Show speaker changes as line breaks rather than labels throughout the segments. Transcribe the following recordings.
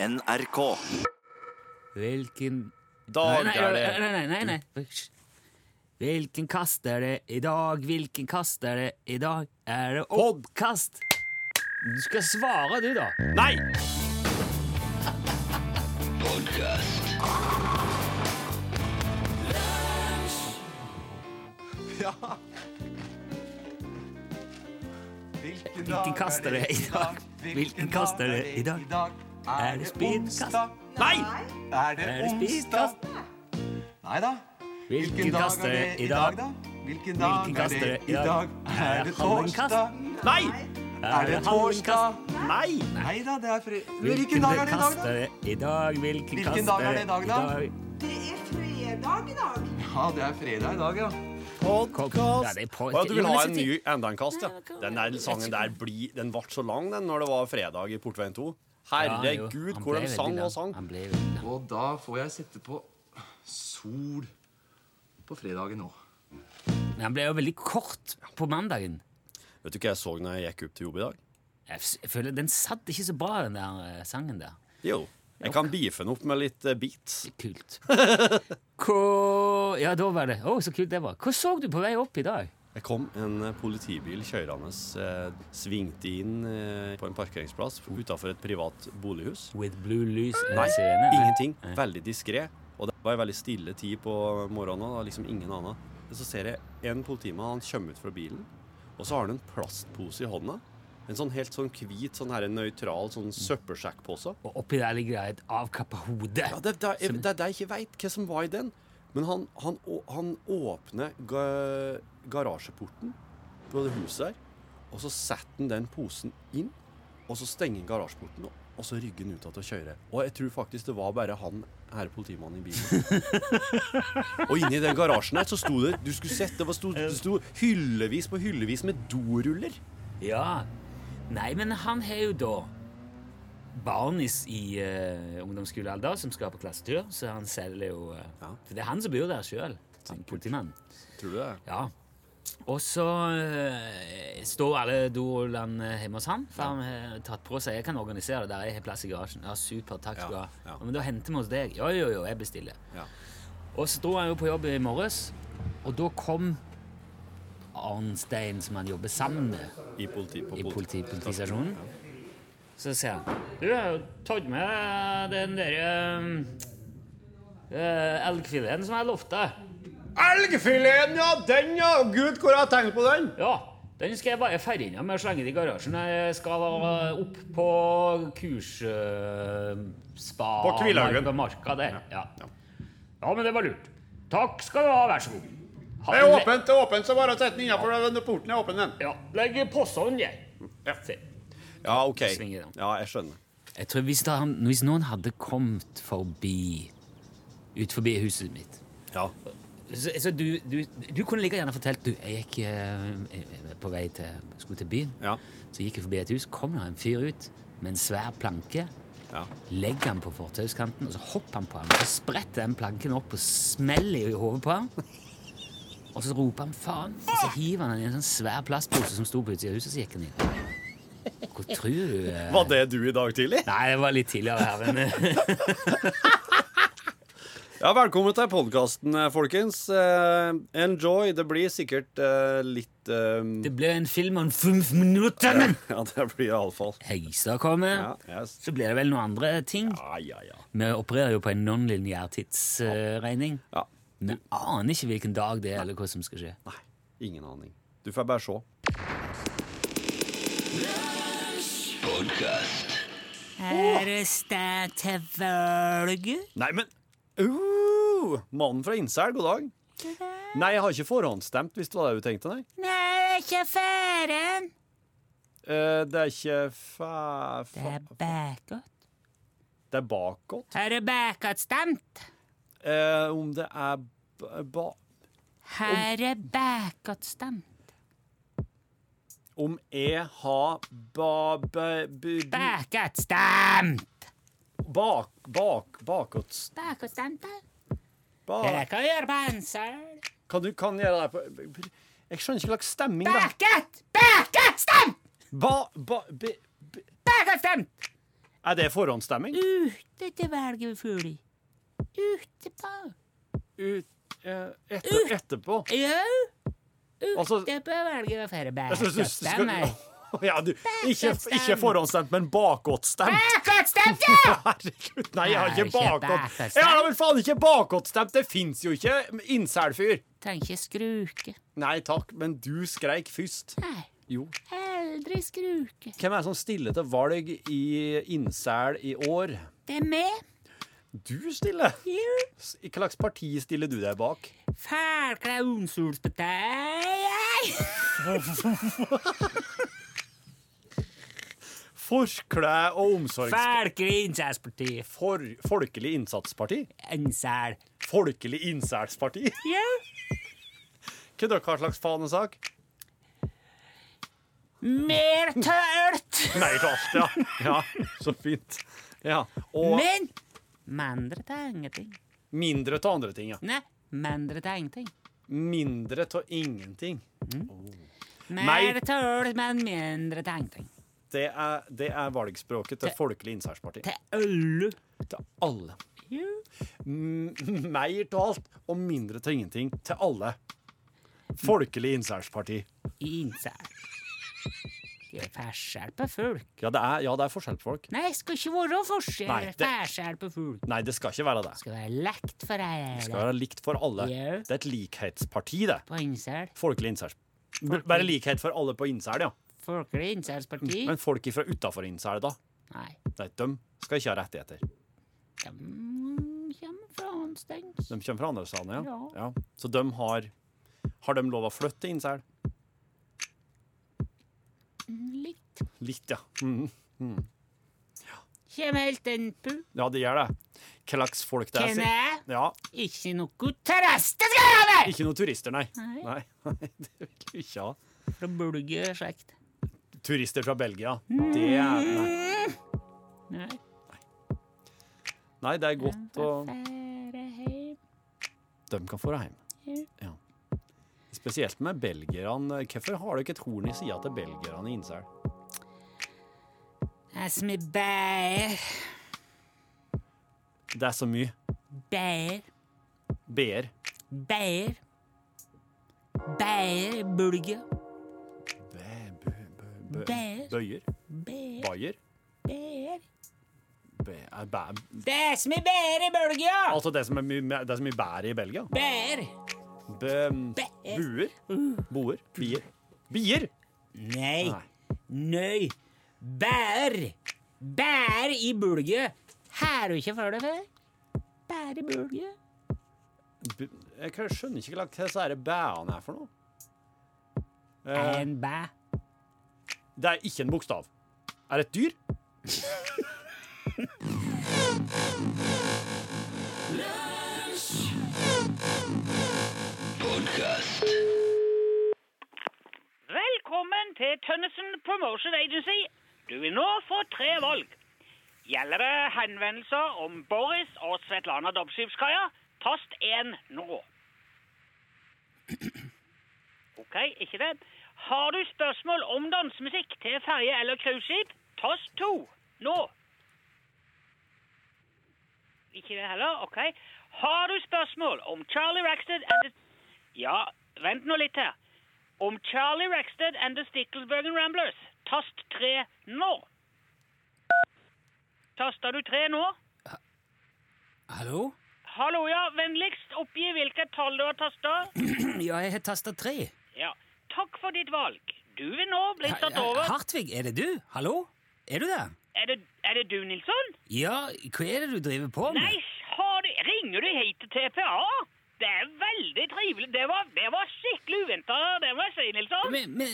NRK.
Oh,
Hvilken
Dag
nei,
er det.
Nei, nei, nei, nei, nei. Hvilken kast er det i dag? Hvilken kast er det i dag? Er det oddkast? Du skal svare, du, da.
Nei!
Hvilken kast er det i dag? Hvilken kast er det i dag? Er det speedkast?
Nei!
Er det
Er det
onsdag?
speedkast?
Nei da.
Hvilken kast er det i dag?
Hvilken
Hvilken
dag er
kast
det i dag? Er det
halvenkast?
torsdag?
Nei!
Er det torsdag?
Nei!
Nei da, det er fri... Hvilken dag er det i dag,
kast
da?
er det i dag? Hvilken
Hvilken
kast
dag er det i dag, da?
Det er fredag i dag.
Ja, det er fredag i dag, ja.
Podcast. Ja, det er på-
Å, du vil
Jo, men
ha
jeg
en
synes-
ny enda en kast, ja. Den der sangen der blir Den ble så lang, den, når det var fredag i Portveien 2.
Ja, jo,
Herregud,
han
hvor
ble
de
veldig
sang
lang.
og sang.
Han ble veldig lang.
Og da får jeg sette på sol på fredagen nå.
Men han ble jo veldig kort på mandagen.
Vet du hva jeg så når jeg gikk opp til jobb i dag?
Jeg f- jeg føler Den satt ikke så bra, den der eh, sangen der.
Jo. Jeg kan beefe den opp med litt eh, beats.
Kult. Hva Ja, da var det Å, så kult det var. Hva så du på vei opp i dag?
Det kom en eh, politibil kjørende, eh, svingte inn eh, på en parkeringsplass utafor et privat bolighus.
With blue lys
Nei, ingenting. Veldig diskré. Og det var en veldig stille tid på morgenen. og det var Liksom ingen annen. Men Så ser jeg en politimann han kommer ut fra bilen, og så har han en plastpose i hånda. En sånn helt sånn hvit, sånn her nøytral sånn søppelsekkpose.
Og oppi der ligger det et avkappa hode.
Ja, det, det, er- det er det jeg ikke veit hva som var i den. Men han, han, å- han åpner ga, garasjeporten på det huset der, og så setter han den posen inn, og så stenger han garasjeporten, og, og så rygger han ut av til å kjøre. Og jeg tror faktisk det var bare han herre politimannen i bilen. og inni den garasjen her så sto det Du skulle sett, det, var sto, det sto hyllevis på hyllevis med doruller.
Ja. Nei, men han har jo da barn i, s- i eh, ungdomsskolealder som skal på klassetur, så han selger jo eh,
Ja.
For det er han som bor der sjøl, som politimann.
Tror du det?
Ja. Og så eh, står alle dorullene hjemme hos han, for han har tatt på seg Jeg kan organisere det der, jeg har plass i garasjen. Ja, super, takk skal du
Ja,
ha.
ja.
Ja, Men da henter vi hos deg. Jo, jo, jo, jeg bestiller.
Ja.
Og så dro han jo på jobb i morges, og da kom Arnstein, som han jobber sammen med
I politi, på
i politi,
politi-
politistasjonen. Så sier han Du har jo tatt med den derre uh, elgfileten som jeg lovte deg.
Elgfileten, ja! Den, ja! Gud, hvor har jeg tenkt på den?
Ja, den skal jeg bare ferdig inn med og slenge det i garasjen. Jeg skal eh, opp på kurs... eh, spa...
På Kvillhaugen.
marka- Marka der, ja. Ja, men det var lurt. Takk skal du ha, vær så god. Ha
Det er
le-
åpent, det er åpent, så bare sett den innafor. Porten er åpen, den.
Ja, legg posene der. Se.
Ja, OK.
Svinger den.
Ja, jeg skjønner.
Jeg tror hvis, da han, hvis noen hadde kommet forbi, ut forbi huset mitt,
Ja.
så, så du, du, du kunne like gjerne fortalt, du, jeg gikk eh, eh, på vei til, skulle til byen,
Ja.
så gikk jeg forbi et hus, kom det en fyr ut med en svær planke,
ja.
legger han på fortauskanten, og så hopper han på han, og så spretter den planken opp og smeller i hodet på han. Og så roper han faen, og så hiver han den i en sånn svær plastpose som sto på utsida av huset, og så gikk han inn. Hvor tror du eh,
Var det du i dag tidlig?
Nei, det var litt tidligere her, men eh,
Ja, Velkommen til podkasten, folkens. Eh, enjoy. Det blir sikkert eh, litt eh,
Det ble en film om fem minutter!
Ja, det blir iallfall.
Heisa kommer.
Ja, yes.
Så blir det vel noen andre ting.
ja, ja, ja.
Vi opererer jo på en non-linjær tidsregning.
ja.
Vi aner ikke hvilken dag det er, eller hva som skal skje.
Nei, ingen aning. Du får bare se.
Er det sted til valg?
Nei, men uh, Mannen fra Innsel, god dag. Nei, jeg har ikke forhåndsstemt, hvis det var det du tenkte, nei.
Nei, det er ikke færen.
Eh, det er ikke fa... fa
bakåt.
det er bakåt.
Har du bakåtstemt?
Eh, om det er b- ba...
Har du bakåtstemt?
Om jeg har ba... ba bu, bu,
Bakåtstemt!
bak... Bak... Bakåts...
Bakåtstemt, da?
Ba,
kan vi gjøre på Hansel.
kan du kan gjøre det her på Jeg skjønner ikke hva slags stemming det er.
Bakåt! Bakåtstemt!
Ba... ba be, be,
Bakåtstemt!
Er det forhåndsstemming?
Ute til velgefugl. Ute på
Ut eh, etter, Etterpå?
Ja,
Altså-
ute på velgefugl.
Jeg synes du- du skal-
Bæsjastemmer.
Ja, du, ikke,
Bæsjastem.
ikke forhåndsstemt, men bakåtstemt.
Bæsjastemmer!
Herregud, nei, jeg har
Nei,
ikke
ikke
bakåt...
bæsjastem.
Jeg har vel faen ikke bakåtstemt! Det fins jo ikke incel-fyr!
Tenker ikke skruke.
Nei takk, men du skreik først.
Nei,
Jo.
aldri skruke.
Hvem er det som stiller til valg i incel i år?
Det er meg.
Du stiller!
Jo.
S- I hva slags parti stiller du deg bak?
Fælkla unsolsbeteie.
Forkle- og omsorgs...
Fælkla innsatsparti.
For, folkelig innsatsparti?
Ensel.
Folkelig innsærsparti?
Ja.
Hva dere har slags fanesak?
Mer tørt.
Nei til alt, ja. ja. Så fint. Ja. Og
Men mindre til ingenting.
mindre til andre ting, ja.
Nei, mindre til ingenting.
Mindre til ingenting.
Mer tørt, men mindre til ingenting.
Det er, det er valgspråket til Folkelig innsærsparti.
Til alle.
Til alle. M- Mer til alt og mindre til ingenting til alle. Folkelig innsærsparti.
Innsel. Det er forskjell på folk.
Ja, det er, ja, det er forskjell på folk.
Nei, det skal ikke være
Nei,
forskjell,
det-
forskjell på folk.
Nei, det skal ikke være det.
Det skal være lekt for
Det
alle.
skal være likt for alle.
Ja.
Det er et likhetsparti, det.
På innsel.
Folkelig innsærs... Bare likhet for alle på innsæl, ja.
Folkelig innsatsparti.
Men folk fra utafor innsæl, da?
Nei.
Nei, de skal ikke ha rettigheter.
De kommer Mm, fra Hanstens.
De kommer fra andre steder, ja.
Ja.
ja. Så de har Har de lov å flytte til Innsel?
Litt.
Litt, ja. Mm.
Kjem helt en på.
Ja, det gjør det. Hva slags folk det er. sier-
Kjenner jeg.
Ja.
Ikke noe terrasse skal jeg ha med!
Ikke noen turister, nei.
Nei.
Nei, nei det vil du ikke ha.
Fra Bulge slekt.
Turister fra Belgia. Det er Nei,
Nei.
nei det er godt å
Fære heim.
De kan få det hjem. Ja. Spesielt med belgierne. Hvorfor har dere et horn i sida til belgierne i Innsel?
Det er som i bær.
Det er så mye.
Bær.
BR.
Bær. Bær. Bulge.
Bæ- bø- bø- bø-
Bær.
Bøyer?
Bær.
Bayer?
Bær.
Bæ- er bæ-
Det er som i bær i Bulge!
Altså det som er mye, det som er mye bær i Belgia?
Bær.
Bø, Mm.
Bær.
buer? Boer? Bier? Bier?
Nei.
Nei.
Nøy. Bær. Bær i Bulge. Har du ikke før det før? Bær i Bulge.
Bu- Jeg kan- skjønner ikke hva disse her bæene er for noe. Eh,
En bæ.
det er ikke en bokstav. Er det et dyr?
Velkommen til Tønnesen Promotion Agency. Du vil nå få tre valg. Gjelder det henvendelser om Boris og Svetlana Dobbskipskaja, tast 1 nå. OK, ikke det. Har du spørsmål om dansemusikk til ferje eller cruiseskip, tast 2 nå. Ikke det heller? OK. Har du spørsmål om Charlie Rackstead and the... Ja, vent nå litt her. Om Charlie Rackstead and the Sticklesbergen Ramblers. Tast 3 nå. Taster du 3 nå?
Hallo?
Hallo, ja. Vennligst oppgi hvilket tall du har tasta.
Ja, jeg har tasta tre.
Ja. Takk for ditt valg. Du vil nå bli tatt over.
Hartvig, er det du? Hallo? Er du der?
Er det, er det du, Nilsson?
Ja, hva er det du driver på med?
Nei, har du, ringer du hit til TPA? Det er veldig trivelig. Det var, det var skikkelig uventa, det må jeg si, Nilsson.
Men, men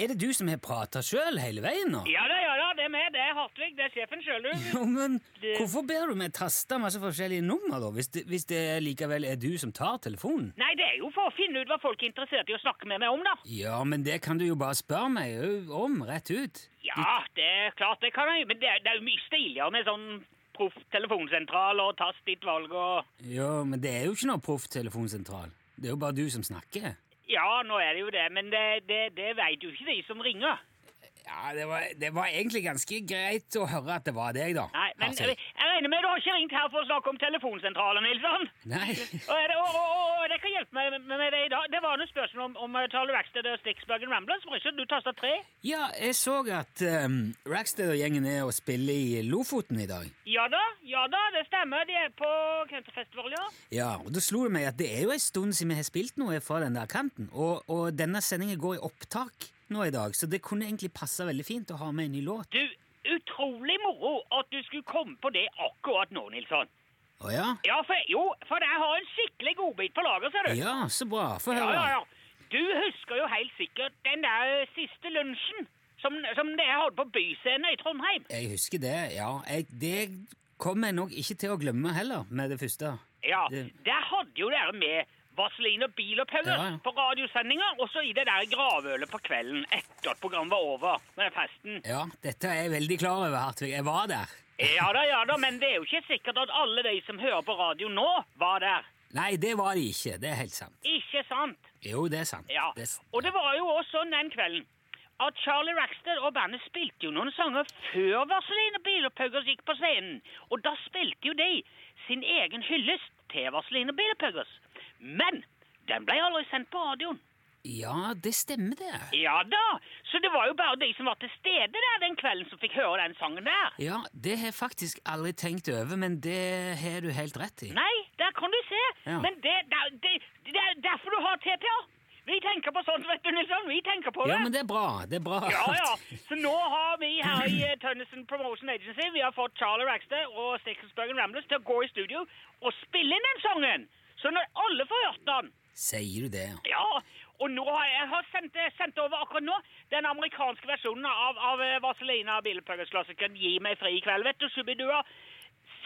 er det du som har prata sjøl hele veien nå?
Ja da, ja da. Det er meg. Det er Hartvig. Det er sjefen sjøl, du.
Jo, men
Det-
hvorfor ber du meg taste masse forskjellige nummer, da, hvis det, hvis det likevel er du som tar telefonen?
Nei, det er jo for å finne ut hva folk er interessert i å snakke med meg om, da.
Ja, men det kan du jo bare spørre meg ø, om, rett ut.
Ja,
Mm.
det er klart det kan jeg, men det er, det er jo mye stiligere med sånn proff telefonsentral og tast ditt valg og
Ja, men det er jo ikke noe profftelefonsentral. Det er jo bare du som snakker.
Ja, nå er det jo det, men det, det, det veit jo ikke de som ringer.
Ja, Ja, det var, det var egentlig ganske greit å høre at det var deg, da.
Nei, men
Altså,
jeg regner med du har ikke ringt her for å snakke om telefonsentralen, Nilsson?
Nei.
Og, er det- og, og, og, og det kan hjelpe meg med, med det i dag. Det var noe spørsmål om, om eh, Charlie Rackstead og Sticksbergen Ramblers. Var ikke du tasta tre?
Ja, jeg så at um, Rackstead og gjengen er og spiller i Lofoten i dag.
Ja da, ja da, det stemmer. De er på Countryfestival, ja.
Ja, og Da slo det meg at det er jo en stund siden vi har spilt noe fra den der kanten. Og, og denne sendingen går i opptak nå i dag, så det kunne egentlig passe veldig fint å ha med en ny låt.
Du, utrolig moro at du skulle komme på det akkurat nå, Nilsson.
Å ja?
Ja, for, jo, for jeg har en skikkelig godbit på lager, ser du.
Ja, så bra. Få
ja,
høre.
ja, ja. Du husker jo helt sikkert den der eh, siste lunsjen som, som dere hadde på Byscenen i Trondheim.
Jeg husker det, ja. Jeg, det kommer jeg nok ikke til å glemme heller, med det første.
Ja,
Det-
der hadde jo dere med Vaselin og bil og pølse
Ja, ja.
på radiosendinger, og så i det der gravølet på kvelden etter at programmet var over med den festen.
Ja, dette er jeg veldig klar over, Hartvig. Jeg var der.
Ja da, ja da, men det er jo ikke sikkert at alle de som hører på radio nå, var der.
Nei, det var det ikke. Det er helt sant.
Ikke sant?
Jo, det er sant.
Ja,
Det er s-
og det var jo også sånn den kvelden at Charlie Rackstead og bandet spilte jo noen sanger før Vaseline Bilopphuggers gikk på scenen. Og da spilte jo de sin egen hyllest til Vaseline Bilopphuggers. Men den ble aldri sendt på radioen.
ja, det stemmer, det.
Ja da, så det var jo bare de som var til stede der den kvelden som fikk høre den sangen der.
Ja, det har jeg faktisk aldri tenkt over, men det har du helt rett i.
Nei, der kan du se.
Ja.
Men det, det, det, det er derfor du har TPA. Vi tenker på sånt, vet du, Nilsson. Vi tenker på det.
Ja, men det er bra. Det er bra.
Ja, ja. Så nå har vi her i eh, Tønnesen Promotion Agency Vi har fått Charlie Rackstead og Stickelsbergen Ramblers til å gå i studio og spille inn den sangen. Så når alle får hørt den
Sier du det? ja?
Ja, og nå har jeg jeg har sendt, sendt over akkurat nå den amerikanske versjonen av, av eh, Vaselina Bilepøggers-klassikeren Gi meg fri i kveld, vet du, Shubidua.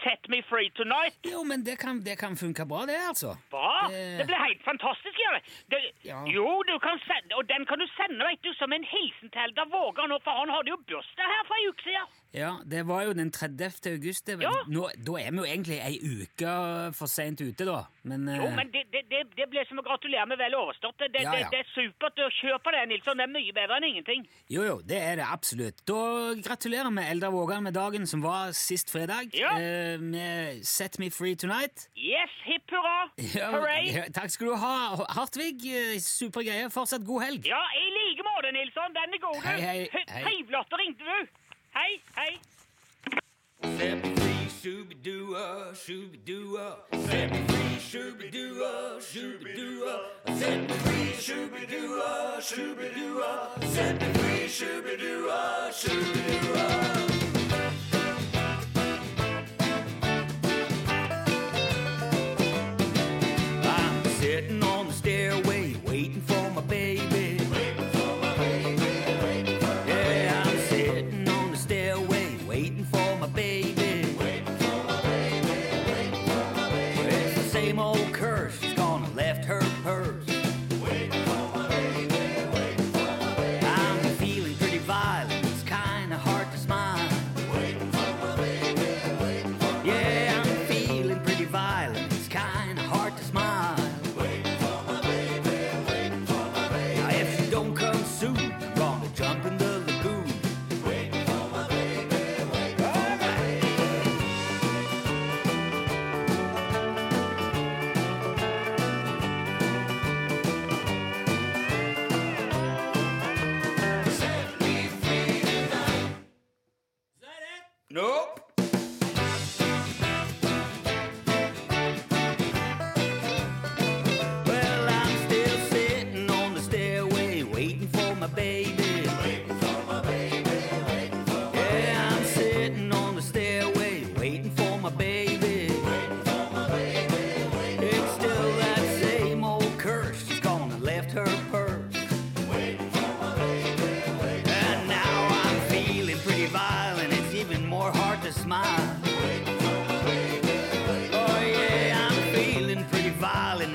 Set me free tonight.
Jo, men det kan, det kan funke bra, det, altså.
Bra!
Det-
Det ble helt fantastisk, gjør det. det
Ja.
Jo, du kan sende, og den kan du sende, vet du, som en hilsen til Eldar Vågan nå, for han hadde jo bursdag her for ei uke siden.
Ja, Det var jo den 30. august. Det var,
Ja.
nå, da er vi jo egentlig ei uke for seint ute, da. Men,
Jo,
eh,
men det, det, det, det ble som å gratulere med vel overstått. Det, det,
Ja, ja.
det, det er supert å kjøre på det, Nilsson. Det er mye bedre enn ingenting.
jo, jo, det er det absolutt. Da gratulerer vi Eldar Vågan med dagen som var sist fredag.
Ja.
Eh, med Set Me Free Tonight.
Yes, hipp hurra!
Ja,
Hooray!
ja, takk skal du ha, Hartvig. Eh, Super greie. Fortsatt god helg.
Ja, i like måte, Nilsson. Den er god, du.
Hei, hei,
Hø-
hei.
Trivelig at du ringte, du. Hei, hei.
I'm sitting on the stairway waiting for my baby. Yeah, I'm sitting on the stairway waiting for my baby. It's the same old curse, she's gone and left her purse. I'm feeling pretty violent, it's kinda hard to smile.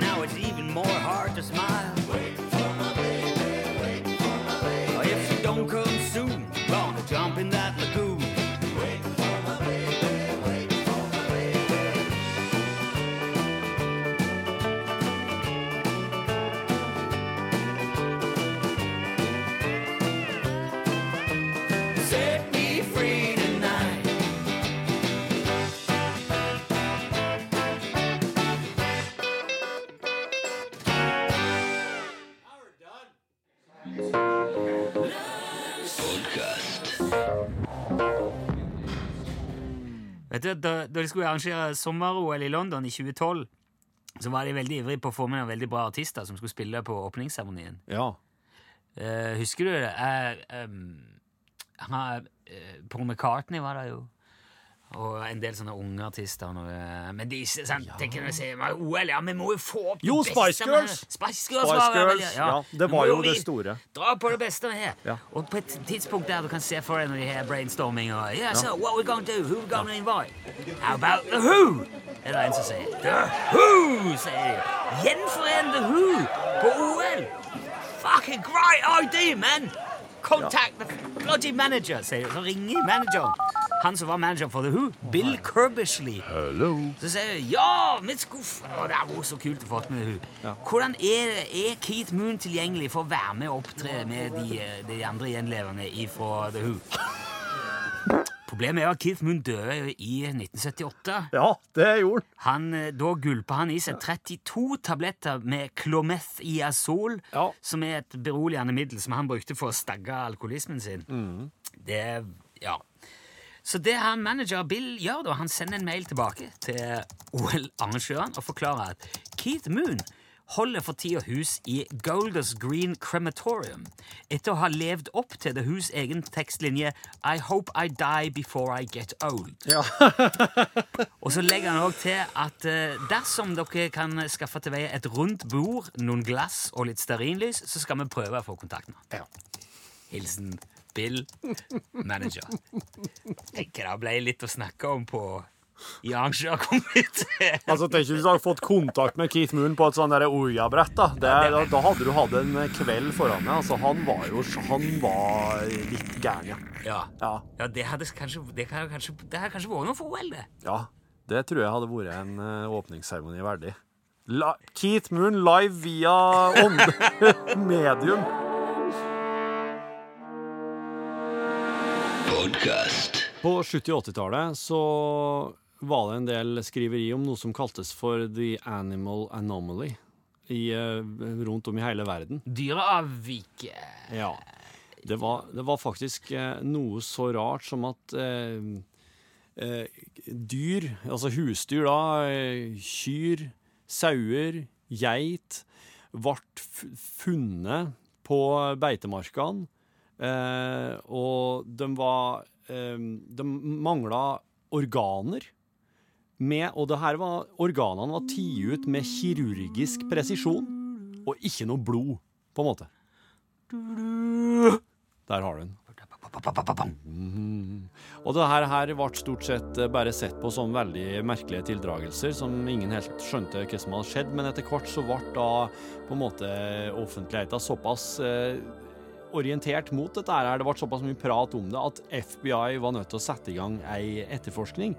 Oh,
Vet du, da, da de skulle arrangere sommer-OL i London i 2012, så var de veldig ivrige på å få med noen veldig bra artister som skulle spille på åpningsseremonien.
Ja.
Eh, husker du det? Eh, em, han, eh, Paul McCartney var der jo. Og en del sånne unge artister. og noe. Men de sant, tenker når de sier «Men OL, ja, vi må jo få opp det
Jo,
beste
Spice
med-
Girls!
Spice Girls,
Spice
var vel-
Girls, ja, det
Nå
var
må
jo det
vi
store.
Dra på det beste vi har.
Ja.
Og på et tidspunkt der du kan se for deg når de har brainstorming og yeah, so what we gonna do? Who we gonna invite? How about The Who? Er det en som sier. The Who, sier de. Gjenforen The Who på OL! Fucking great idea, man! Contact the bloody manager, sier de. Så ringer manageren. Han som var manager for The Who, Bill Curbishley. Så sier hun ja, vi skulle f- Å, Det hadde vært så kult å få med hun. Hvordan er, det- er Keith Moon tilgjengelig for å være med og opptre med de, eh, de andre gjenlevende fra The Who? Problemet er at Keith Moon døde jo i 1978.
ja, det gjorde han.
Han, eh, da gulpa han i seg 32 tabletter med Clometh-iazol,
Ja.
som er et beroligende middel som han brukte for å stagge alkoholismen sin. Det, ja. Så det han manager Bill gjør, da, han sender en mail tilbake til OL-arrangøren og forklarer at Keith Moon holder for tida hus i Golders Green Crematorium etter å ha levd opp til The Who's egen tekstlinje I hope I die before I get old. Og så legger han òg til at eh, dersom dere kan skaffe til veie et rundt bord, noen glass og litt stearinlys, så skal vi prøve å få kontakt med han. Hilsen Bill, manager. Tenker det ble litt å snakke om på i arrangørkomiteen.
Altså, Tenk hvis du hadde fått kontakt med Keith Moon på et sånn der Ouya-brett. Da. Det, da, da hadde du hatt en kveld foran deg. Altså, han var jo Han var litt gæren, ja.
Ja.
Ja.
ja, det hadde kanskje Det hadde kanskje, det hadde kanskje vært noe for OL, det.
ja. Det tror jeg hadde vært en eh, åpningsseremoni verdig. La Keith Moon live via ånde medium. På 70- og 80-tallet så var det en del skriveri om noe som kaltes for The Animal Anomaly i, eh, rundt om i hele verden.
Dyreavviket
Ja. Det var, det var faktisk eh, noe så rart som at eh, eh, dyr, altså husdyr da, eh, kyr, sauer, geit, ble f- funnet på beitemarkene, eh, og de var eh, De mangla organer. Med, og det her var, organene var tatt ut med kirurgisk presisjon, og ikke noe blod, på en måte. Der har du den. Og det her, her ble stort sett eh, bare sett på som veldig merkelige tildragelser, som ingen helt skjønte hva som hadde skjedd, men etter hvert så ble da på en måte offentligheten såpass eh, orientert mot dette her, det ble såpass mye prat om det, at FBI var nødt til å sette i gang ei etterforskning.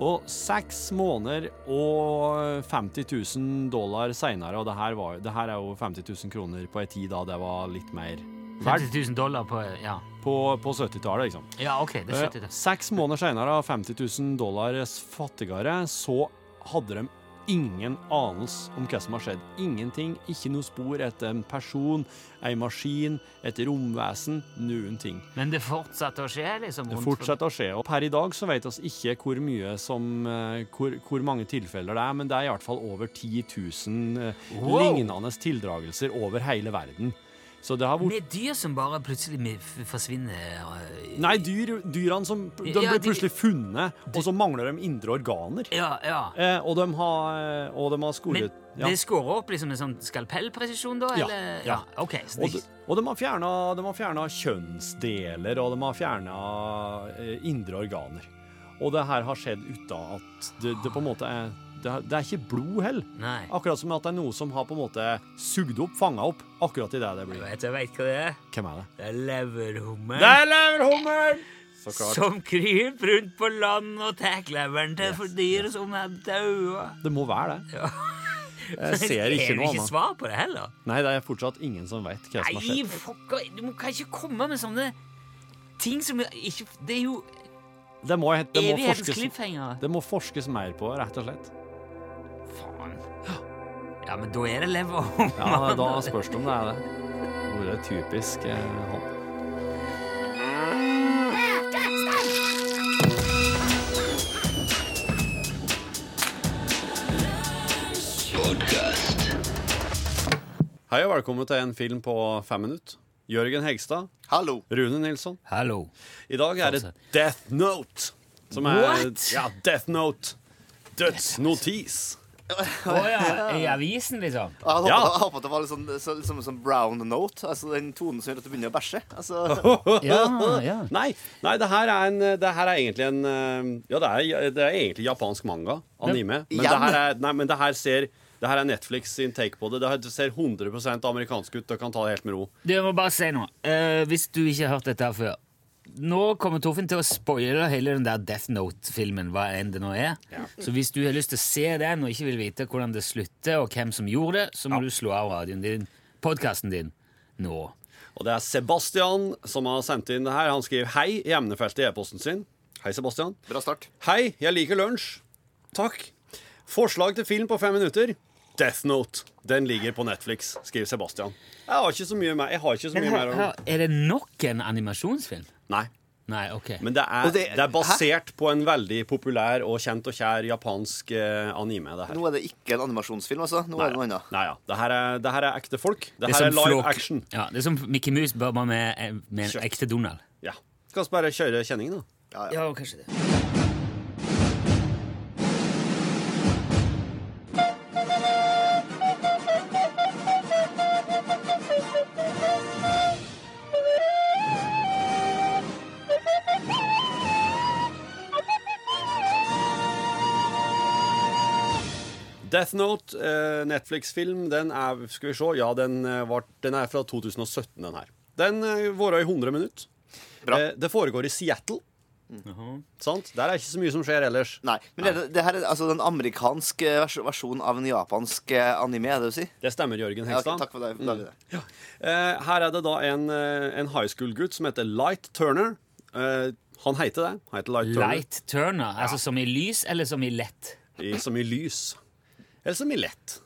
Og seks måneder og 50 000 dollar seinere, og det her, var, det her er jo 50 000 kroner på ei tid da det var litt mer verdt
50 000 dollar på Ja,
på, på 70-tallet, liksom.
ja ok, det skjønte
Eh,
jeg.
Seks måneder senere, 50 000 dollar fattigere, så hadde de ingen anelse om hva som har skjedd. Ingenting, ikke noe spor etter en person, ei maskin, et romvesen, noen ting.
Men det fortsatte å skje, liksom?
Det
rundt for-
fortsetter å skje, og per i dag så vet vi ikke hvor mye som eh, hvor, hvor mange tilfeller det er, men det er i hvert fall over 10 000 eh,
Wow!
lignende tildragelser over hele verden. Så det har vært
Med dyr som bare plutselig mi- f- forsvinner eh, og-
Nei, dyr, dyrene som De
Ja,
blir
de-
plutselig funnet, og så mangler de indre organer.
Ja, ja.
Eh, og de har, eh, og de har
Men
skolet ja.
det skårer opp liksom en sånn skalpellpresisjon, da?
Ja,
Eller?
ja.
Ok, så
Og,
det,
de, og de har fjernet- de har fjerna kjønnsdeler, og de har fjerna eh, indre organer. Og det her har skjedd uten at det, det på en måte er det, er- det er ikke blod heller.
Nei.
Akkurat som at det er noe som har på en måte sugd opp, fanga opp, akkurat i det det
Du
blir.
vet, jeg vet hva det er.
Hvem er det?
Det er leverhummer
Der lever hummeren! Så klart.
som kryper rundt på land og tar leveren til for dyr som er daua.
Det må være det. Jeg ser
Er
ikke
det
noe
ikke
annet.
svar på det heller?
Nei, det er fortsatt ingen som veit hva som har
Nei,
skjedd.
fucker, du må- kan ikke komme med sånne ting som ikke Det er jo
Det må, det må
evighetens
forskes
cliffhanger.
Det må forskes mer på, rett og slett.
Faen. Ja, men da er det leverhummer.
Ja, Da spørs det om det er det. Hvor det er typisk eh, han. Hei og velkommen til en film på fem minutter. Jørgen Hegstad.
Hallo.
Rune Nilsson.
Hallo.
I dag er det Death Note. Som er
What?
Ja, Death Note. Dødsnotis.
Å ja, i avisen, liksom?
Jeg hadde
Ja.
håpet- jeg håpet det var litt sånn, så, som en sånn brown note. Altså den tonen som gjør at du begynner å bæsje. Altså,
Ja, Ah, ja.
Ah, Nei, nei det, her er en, det her er egentlig en eh, Ja, det er, det er egentlig japansk manga. Anime. Men det
Igjen?
her, er, nei, men det her ser det her er Netflix sin take på det. Det her ser 100 amerikansk ut. Dere kan ta det helt med ro.
Du, jeg må bare si noe. Eh, hvis du ikke har hørt dette her før Nå kommer Torfinn til å spoile hele den der Death Note-filmen, hva enn det nå er. Så hvis du har lyst til å se den og ikke vil vite hvordan det slutter, og hvem som gjorde det, så må du slå av radioen din, podkasten din, nå.
Og det er Sebastian som har sendt inn det her. Han skriver hei i emnefeltet i e-posten sin. Hei, Sebastian.
bra start.
Hei, jeg liker lunsj. Takk. Forslag til film på fem minutter? Death Note. Den ligger på Netflix, skriver Sebastian. Jeg har ikke så mye mer. Jeg har ikke så
Men
mye
hør,
mer å...
hør, er det nok en animasjonsfilm?
Nei.
Nei, ok.
Men det er,
Og
det,
det-
er basert på en veldig populær og kjent og kjær japansk eh, anime. det her.
Nå er det ikke en animasjonsfilm, altså. Nå er det noe annet.
Nei, ja. det, her er, det her er ekte folk. Det,
Det er
her er
som
live
flåk-
action.
Ja, det er som Mickey Mouse bare bare med, eh, med en
Kjøtt.
ekte Donald.
Ja. Skal vi bare kjøre kjenning, da?
Ja, kanskje det.
Death Note, eh, Netflix-film, den er Skal vi se. Ja, den, eh, var, den er fra 2017, den her. Den eh, varer i 100 minutter.
Bra.
Eh, det foregår i Seattle. Sant? Der er ikke så mye som skjer ellers.
Nei, men det, det her er altså den amerikanske vers versjonen av en japansk eh, anime, er det du sier?
Det stemmer, Jørgen
Ja, ok,
Hegstad.
takk for det. Da er vi der.
Eh, her er det da en, eh, en high school-gutt som heter Light Turner. Eh, han heter det. Han heter Light Turner.
Light Turner. Altså som i lys, eller som i lett?
I, som i lys. Eller som i lett.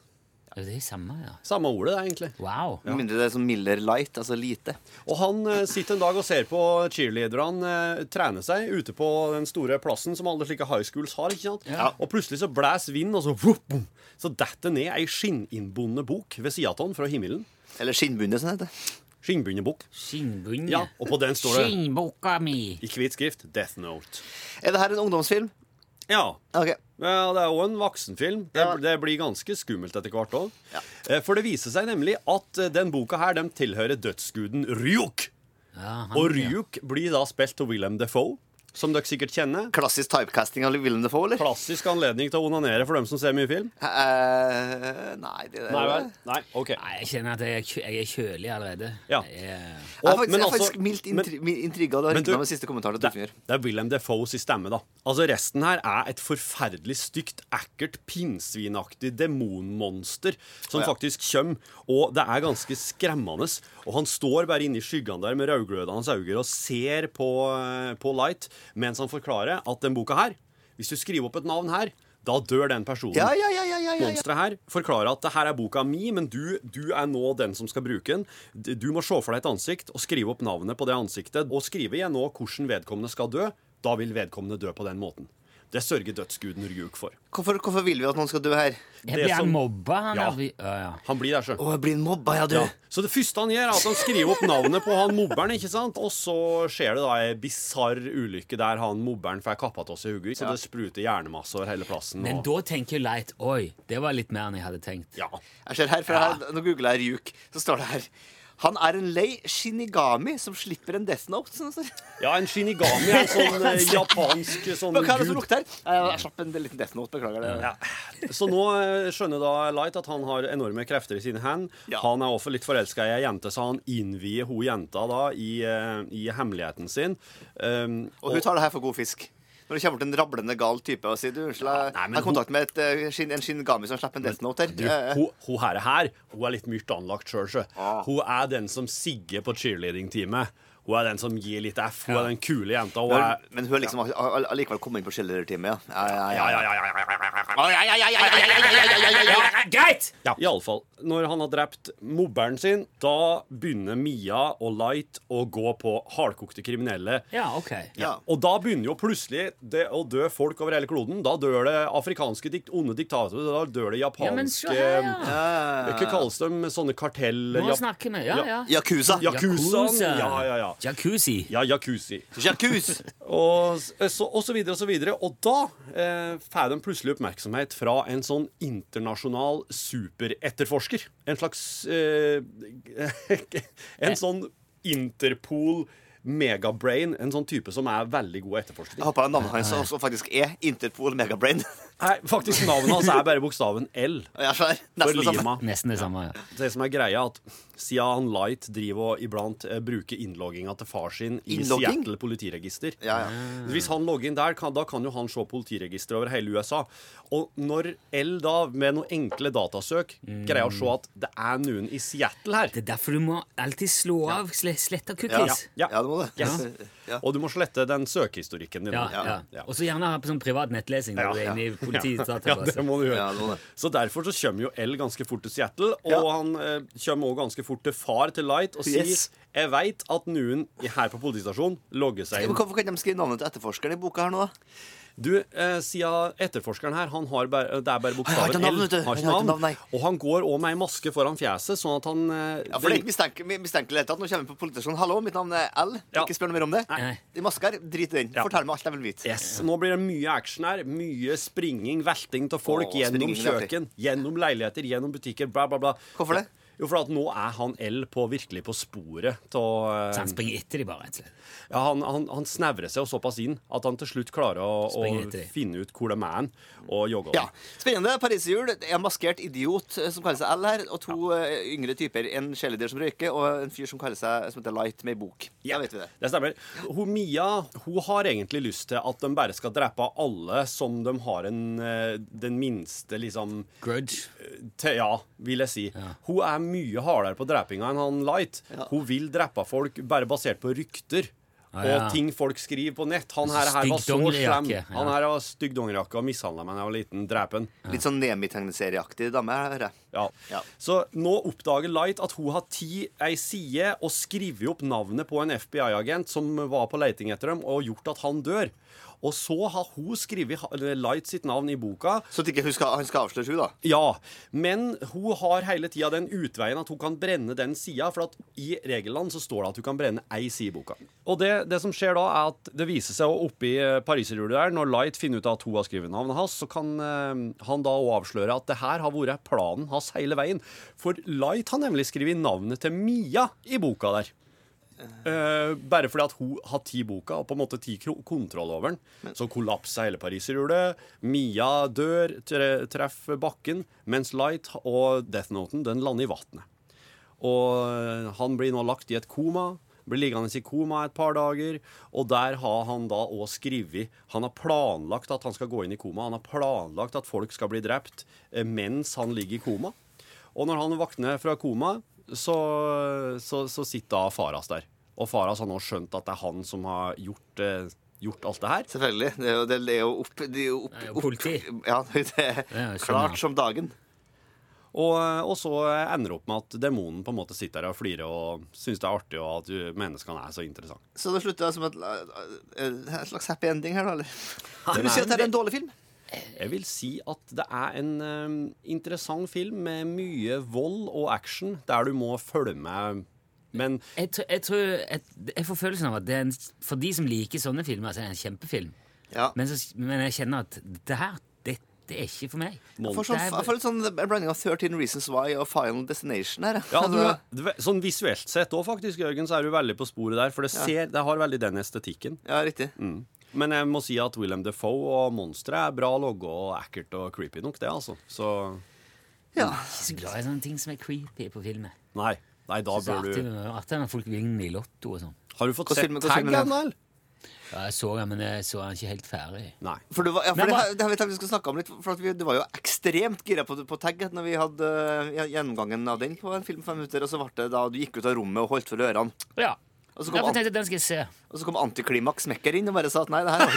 Ja, Det er det samme, ja.
Samme ordet, det, egentlig.
Wow.
Med mindre det er sånn Miller Light, altså lite.
Og han eh, sitter en dag og ser på cheerleaderne eh, trene seg ute på den store plassen som alle slike high schools har. ikke sant? Og plutselig så blæser vind, og så vup, bom, Så detter ned ei skinninnbundne bok ved sida av han fra himmelen.
Eller skinnbundet, som det heter.
Skinnbundne bok.
Skinnbunge.
Ja, og på den står det
Skinnboka mi.
i hvit skrift 'Death Note'.
Er det her en ungdomsfilm?
Ja.
Ok.
Ja, Det er òg en voksenfilm. Det,
Ja.
det blir ganske skummelt etter hvert òg.
Ja.
For det viser seg nemlig at eh, den boka her den tilhører dødsguden Ryuk.
Ja, han,
Og
ja.
Ryuk blir da spilt av William Defoe, som dere sikkert kjenner.
Klassisk typecasting av Willem Dafoe, eller?
Klassisk anledning til å onanere for dem som ser mye film.
Eh, nei, det er
Nei vel? Nei, ok
Nei, jeg kjenner at jeg er, kjø- jeg er kjølig allerede.
Ja.
Jeg er-
Jeg er
Og-
faktisk, jeg
men
er
altså-
faktisk mildt
men-
intri men, intriga. Du har
Men
riktig
du-
med siste kommentar til
det,
Torfinn.
det er William Defoes stemme, da. Altså Resten her er et forferdelig stygt, ekkelt, pinnsvinaktig demonmonster som
Ja.
faktisk kommer, og det er ganske skremmende. Og han står bare inne i skyggene der med rødglødende øyne og ser på, eh, på Light mens han forklarer at den boka her, hvis du skriver opp et navn her, da dør den personen.
Ja, ja, ja, ja, ja, ja, ja.
Monsteret her forklarer at det her er boka mi, men du, du er nå den som skal bruke den. D- Du må se for deg et ansikt og skrive opp navnet på det ansiktet. Og skriver jeg nå hvordan vedkommende skal dø, da vil vedkommende dø på den måten. Det sørger dødsguden Ryuk for.
Hvorfor, hvorfor vil vi at noen skal dø her?
Jeg
Det
blir
som-
mobba, han
Ja.
der. vi- Ja, ja.
Han blir der, sjø.
Å, jeg blir mobba, ja, du.
Ja. Så det første han gjør, er at han skriver opp navnet på han mobberen, ikke sant? Og så skjer det da ei bisarr ulykke der han mobberen får kappa av seg hodet, så det spruter hjernemasse over hele plassen.
Men
Og,
da tenker jo Light Oi, det var litt mer enn jeg hadde tenkt.
ja.
Jeg ser her, for her, Nå googler jeg Ryuk, så står det her. Han er en lei shinigami som slipper en death note. Sånn, sånn.
ja, en shinigami er en sånn eh, japansk sånn
Hva er det som
gud.
lukter her? Jeg, jeg slapp en liten death note, beklager det.
Så nå eh, skjønner da Light at han har enorme krefter i sine hand.
Ja.
Han er også litt forelska i ei jente, så han innvier hun jenta da i, eh, i hemmeligheten sin. Um,
Og hun tar det her for god fisk. Når det kommer til en rablende gal type og sier du, unnskyld, jeg
Nei, men
jeg har kontakt med et, eh, shin, en shinigami som slipper en death note her.
du,
Eh,
hun, hun her, er her Hun er litt myrt anlagt sjøl, sjø. Hun er den som sigger på cheerleading-teamet. Hun er den som gir litt F. Hun er den kule jenta. Hun er
men hun er liksom har- har allikevel kommet inn på skillerteamet, ja. Ja, ja,
ja,
ja,
ja, ja, ja, ja, ja,
Greit!
Iallfall. Når han har drept mobberen sin, da begynner Mia og Light å gå på hardkokte kriminelle.
Ja, OK.
Ja.
Og da begynner jo plutselig det å dø folk over hele kloden. Da dør det afrikanske dikt, onde diktatorer, da dør det
Ja, men se
japanske
her, ja.
Hva kalles de? Sånne kartell...
Nå
jap-
snakker vi. Ja, ja.
Yakuza.
Yakuzaen. Ja, ja, ja.
Jacuzzi.
Ja, jacuzzi.
Jacuz.
Og, eh, så, og så videre og så videre. Og da eh, får de plutselig oppmerksomhet fra en sånn internasjonal superetterforsker. En slags eh, En sånn Interpol megabrain. En sånn type som er veldig god etterforsker.
Jeg håper navnet hans også faktisk er Interpol Megabrain.
Nei, faktisk Navnet hans er bare bokstaven L
Jeg er svær.
for
Nesten det samme.
Lima.
Nesten det samme. ja.
Det som er greia, er at siden han Light driver og iblant eh, bruker innlogginga til far sin i
Innlogging?
Seattle politiregister
Ja, ja.
Hvis han logger inn der, kan, da kan jo han se politiregisteret over hele USA. Og når L da, med noen enkle datasøk, greier å se at det er noen i Seattle her
Det er derfor du må alltid slå av sle- slette
Ja.
cookies.
Ja.
ja, det må det.
Yes.
Ja.
Og du må slette den søkehistorikken din.
Ja, ja.
Ja.
Og så gjerne ha på sånn privat nettlesing når du er inne i politiet.
Ja, det må du gjøre.
Ja, det må det.
Så derfor så kommer jo L ganske fort til Seattle, og
Ja.
han eh, kommer også ganske fort til far til Light og sier
Yes.
Jeg veit at noen i- her på politistasjonen logger seg
Ja,
inn.
men Hvorfor kan de skrive navnet til etterforskeren i boka her nå? da?
Du, eh, siden etterforskeren her, han har bare, det er bare
har
bokstaven
ikke navn, vet du.
L.
Han har ikke navn, nei.
og han går òg med ei maske foran fjeset, sånn at han eh,
Ja, for det er ikke mistenke- mi- mistenkelig at Nå kommer vi på politistasjonen. Hallo, mitt navn er L.
Ja.
Ikke spør noe mer om det.
Nei.
De masker, drit i den.
Ja.
Fortell meg alt jeg vil vite.
Yes. Nå blir det mye action her. Mye springing, velting av folk
Åh,
gjennom
springing, velting.
kjøkken, gjennom leiligheter, gjennom butikker, bla, bla, bla.
Hvorfor det?
Jo, for at nå er han L på, virkelig på sporet til
Så
eh,
han springer etter de bare, rett og slett.
ja, han, han, han snevrer seg jo såpass inn at han til slutt klarer å,
Springer
å
etter.
finne ut hvor de er hen, og jogge
Ja, Spennende. Pariserhjul. Det er en maskert idiot eh, som kaller seg L her, og to eh, yngre typer. En kjæledyr som røyker, og en fyr som kaller seg som heter Light, med ei bok.
Ja.
Da vet vi det.
Det stemmer. Hun, Mia hun har egentlig lyst til at de bare skal drepe alle som de har en, eh, den minste liksom,
Grudge.
til, Ja, vil jeg si. Hun er mye hardere på drepinga enn han Light. Hun vil drepe folk bare basert på rykter.
Ah, ja.
Og ting folk skriver på nett. Han her, her var så slem.
Styggdongerijakke, ja.
Han her var stygg dongerijakke og mishandla meg da jeg var liten. Drep han.
Litt sånn Nemi-tegneserieaktig dame her, hører jeg.
Ja.
Ja.
Så nå oppdager Light at hun har ti ei side og skriver opp navnet på en FBI-agent som var på leiting etter dem, og gjort at han dør. Og så har hun skrevet ha- eller Light sitt navn i boka.
Så at ikke hun skal, han skal avsløre henne, da.
Ja, men hun har hele tida den utveien at hun kan brenne den sida, for at i regelland så står det at hun kan brenne ei side i boka. Og det, det som skjer da, er at det viser seg å- oppi eh, pariserhjulet der, når Light finner ut at hun har skrevet navnet hans, så kan eh, han da òg avsløre at det her har vært planen hans hele veien. For Light har nemlig skrevet navnet til Mia i boka der. Eh, bare fordi at hun har ti boka og på en måte ti kro- kontroll over den. Så kollapser hele pariserhjulet. Mia dør, tre, treffer bakken, mens Light og Death Noten den lander i vannet. Og eh, han blir nå lagt i et koma. Blir liggende i koma et par dager. Og der har han da òg skrevet Han har planlagt at han skal gå inn i koma. Han har planlagt at folk skal bli drept eh, mens han ligger i koma. Og når han våkner fra koma, så, så, så sitter da Faras der. Og Faras har nå skjønt at det er han som har gjort, eh, gjort alt det her.
Selvfølgelig. Det er jo, det er jo opp... Det er jo opp,
er jo
opp-
politi.
Ja, det
skjønner
er klart
jeg.
som dagen.
Og, eh, og så ender det opp med at demonen på en måte sitter der og flirer og syns det er artig og at du- menneskene er så interessante.
Så det slutta som et, eh, en slags happy ending her, da? eller? Vil du
nei,
si at dette er en dårlig film?
Jeg vil si at det er en eh, interessant film med mye vold og action der du må følge med. Men
Jeg, tr- jeg tror jeg, jeg får følelsen av at det er en, for de som liker sånne filmer, så er det en kjempefilm.
Ja.
Men, så, men jeg kjenner at det her, det, det er ikke for meg.
Jeg får, sånn,
Det er-
jeg får litt sånn en blanding av 13 Reasons Why og Final Destination her. jeg.
ja, du,
Altså,
du, sånn visuelt sett òg, faktisk, Jørgen, så er du veldig på sporet der. For det, ser, det har veldig den estetikken.
ja riktig.
Mm. Men jeg må si at William Defoe og Monstre er bra logge og ekkelt og creepy nok, det, altså. Så
Ja.
Jeg er så glad i sånne ting som er creepy på filmer.
nei. Nei, da
Så
bør
artig
du
med- artig når folk vinner i lotto og sånn.
Har du fått
Hvordan
sett
filmen- hvordan
taggen,
filmen er det?
eller?
Ja, jeg så den, men jeg så den ikke helt ferdig.
Nei.
For, det, var, ja, for
Men
det,
hva-
her- det her vet jeg vi skal snakke om litt For at vi, Du var jo ekstremt gira på, på tag Når vi hadde eh, gjennomgangen av den på en film på fem minutter Og så ble det da du gikk ut av rommet og holdt for ørene
Ja.
Og så kom,
Ja, for jeg
an-
tenkte, den skal jeg se.
og så kom antiklimaks Mekker inn og bare sa at nei, det her var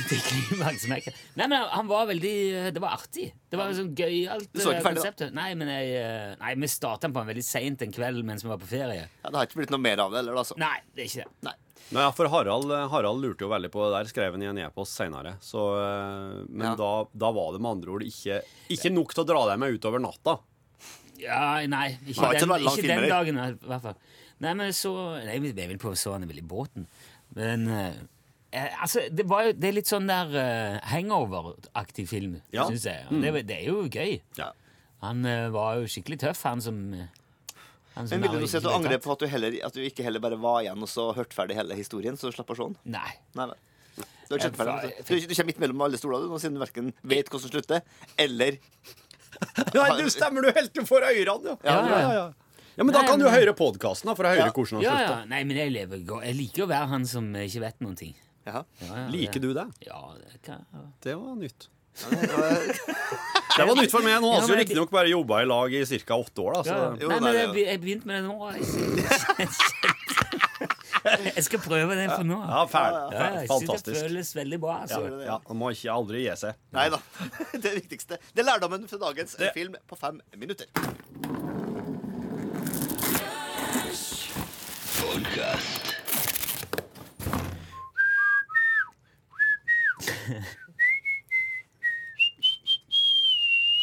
ikke
Antiklimaksmerket. Nei, men han var veldig Det var artig. Det var sånn gøyalt
Du så ikke
eh,
ferdig, da?
konseptet. Nei, men jeg, eh, nei, vi starta på han veldig seint en kveld mens vi var på ferie.
ja, Det har ikke blitt noe mer av det heller, altså.
Nei, det er ikke det.
Nei.
Nei, ja, for Harald, eh, Harald lurte jo veldig på det der, skrev han i en e-post seinere. Men
Ja.
da, da var det med andre ord ikke, ikke nok til å dra deg med utover natta.
Ja, nei, ikke,
Nei, ikke
den,
det var lang
ikke
film,
den
eller?
dagen, i hvert fall. Nei, men så Nei, jeg vil- jeg vil prøve å så han vel i båten. Men eh, eh, altså, det, var jo, det er litt sånn der eh, hangover-aktig film,
Ja.
synes jeg.
Mm.
Det, er- det er jo gøy.
Ja.
Han eh, var jo skikkelig tøff, han som eh, han som
Men vil
er-
du si at du
ikke ble
angrer
tatt.
på at du, heller, at du ikke heller bare var igjen og så hørte ferdig hele historien, så du slapp å se den?
Nei.
Nei, nei. Du, har ikke
Jeg
sett ferdig,
var-
altså. du, du kommer midt mellom alle stoler, du, nå, siden du verken vet hvordan det slutter, eller
Nei, du stemmer du helt du får ørene, ja.
Ja, ja, ja.
Ja, Men da
Nei,
kan du
men-
høre podkasten for å høre
Ja.
hvordan han
Ja, ja.
slutta.
Nei, men jeg lever godt. Jeg liker å være han som eh, ikke vet noen ting.
Jaha.
Ja, ja,
Liker du det?
det? Ja, det kan
Altså,
Det var nytt. Det var nytt for meg. Nå altså. har vi
Ja,
jo
men-
riktignok bare jobba i lag i ca. åtte år, da.
ja, ja.
Så.
Jo,
Nei,
nei,
men jeg,
det-
be- jeg begynte med det nå. Jeg- Jeg skal prøve det for nå.
Ja, fæl.
Ja, ja, jeg synes det
Fantastisk.
føles veldig bra. Altså.
Ja.
Ja, man må ikke aldri gi seg.
Nei da. Det er det viktigste. Det er lærdommen fra dagens film på fem minutter.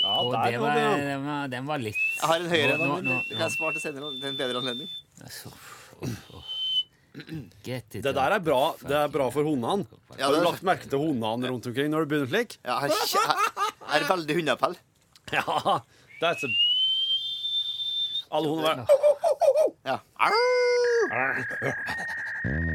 Ja,
Og
der
det
kom
var,
det.
den, var, den var litt
Jeg har en høyere enn
Nå-
den
nå-
min.
nå-
Det kan jeg spare til senere. Det er en bedre anledning.
altså, uff, uff. Get it
Det der er bra, det er bra for hundene.
Ja,
Har du
det-
lagt merke til hundene rundt omkring når du begynner slik?
Ja, jeg, er kje- jeg, jeg er veldig hundeappell.
Ja, det er så Alle hundene bare
Ja.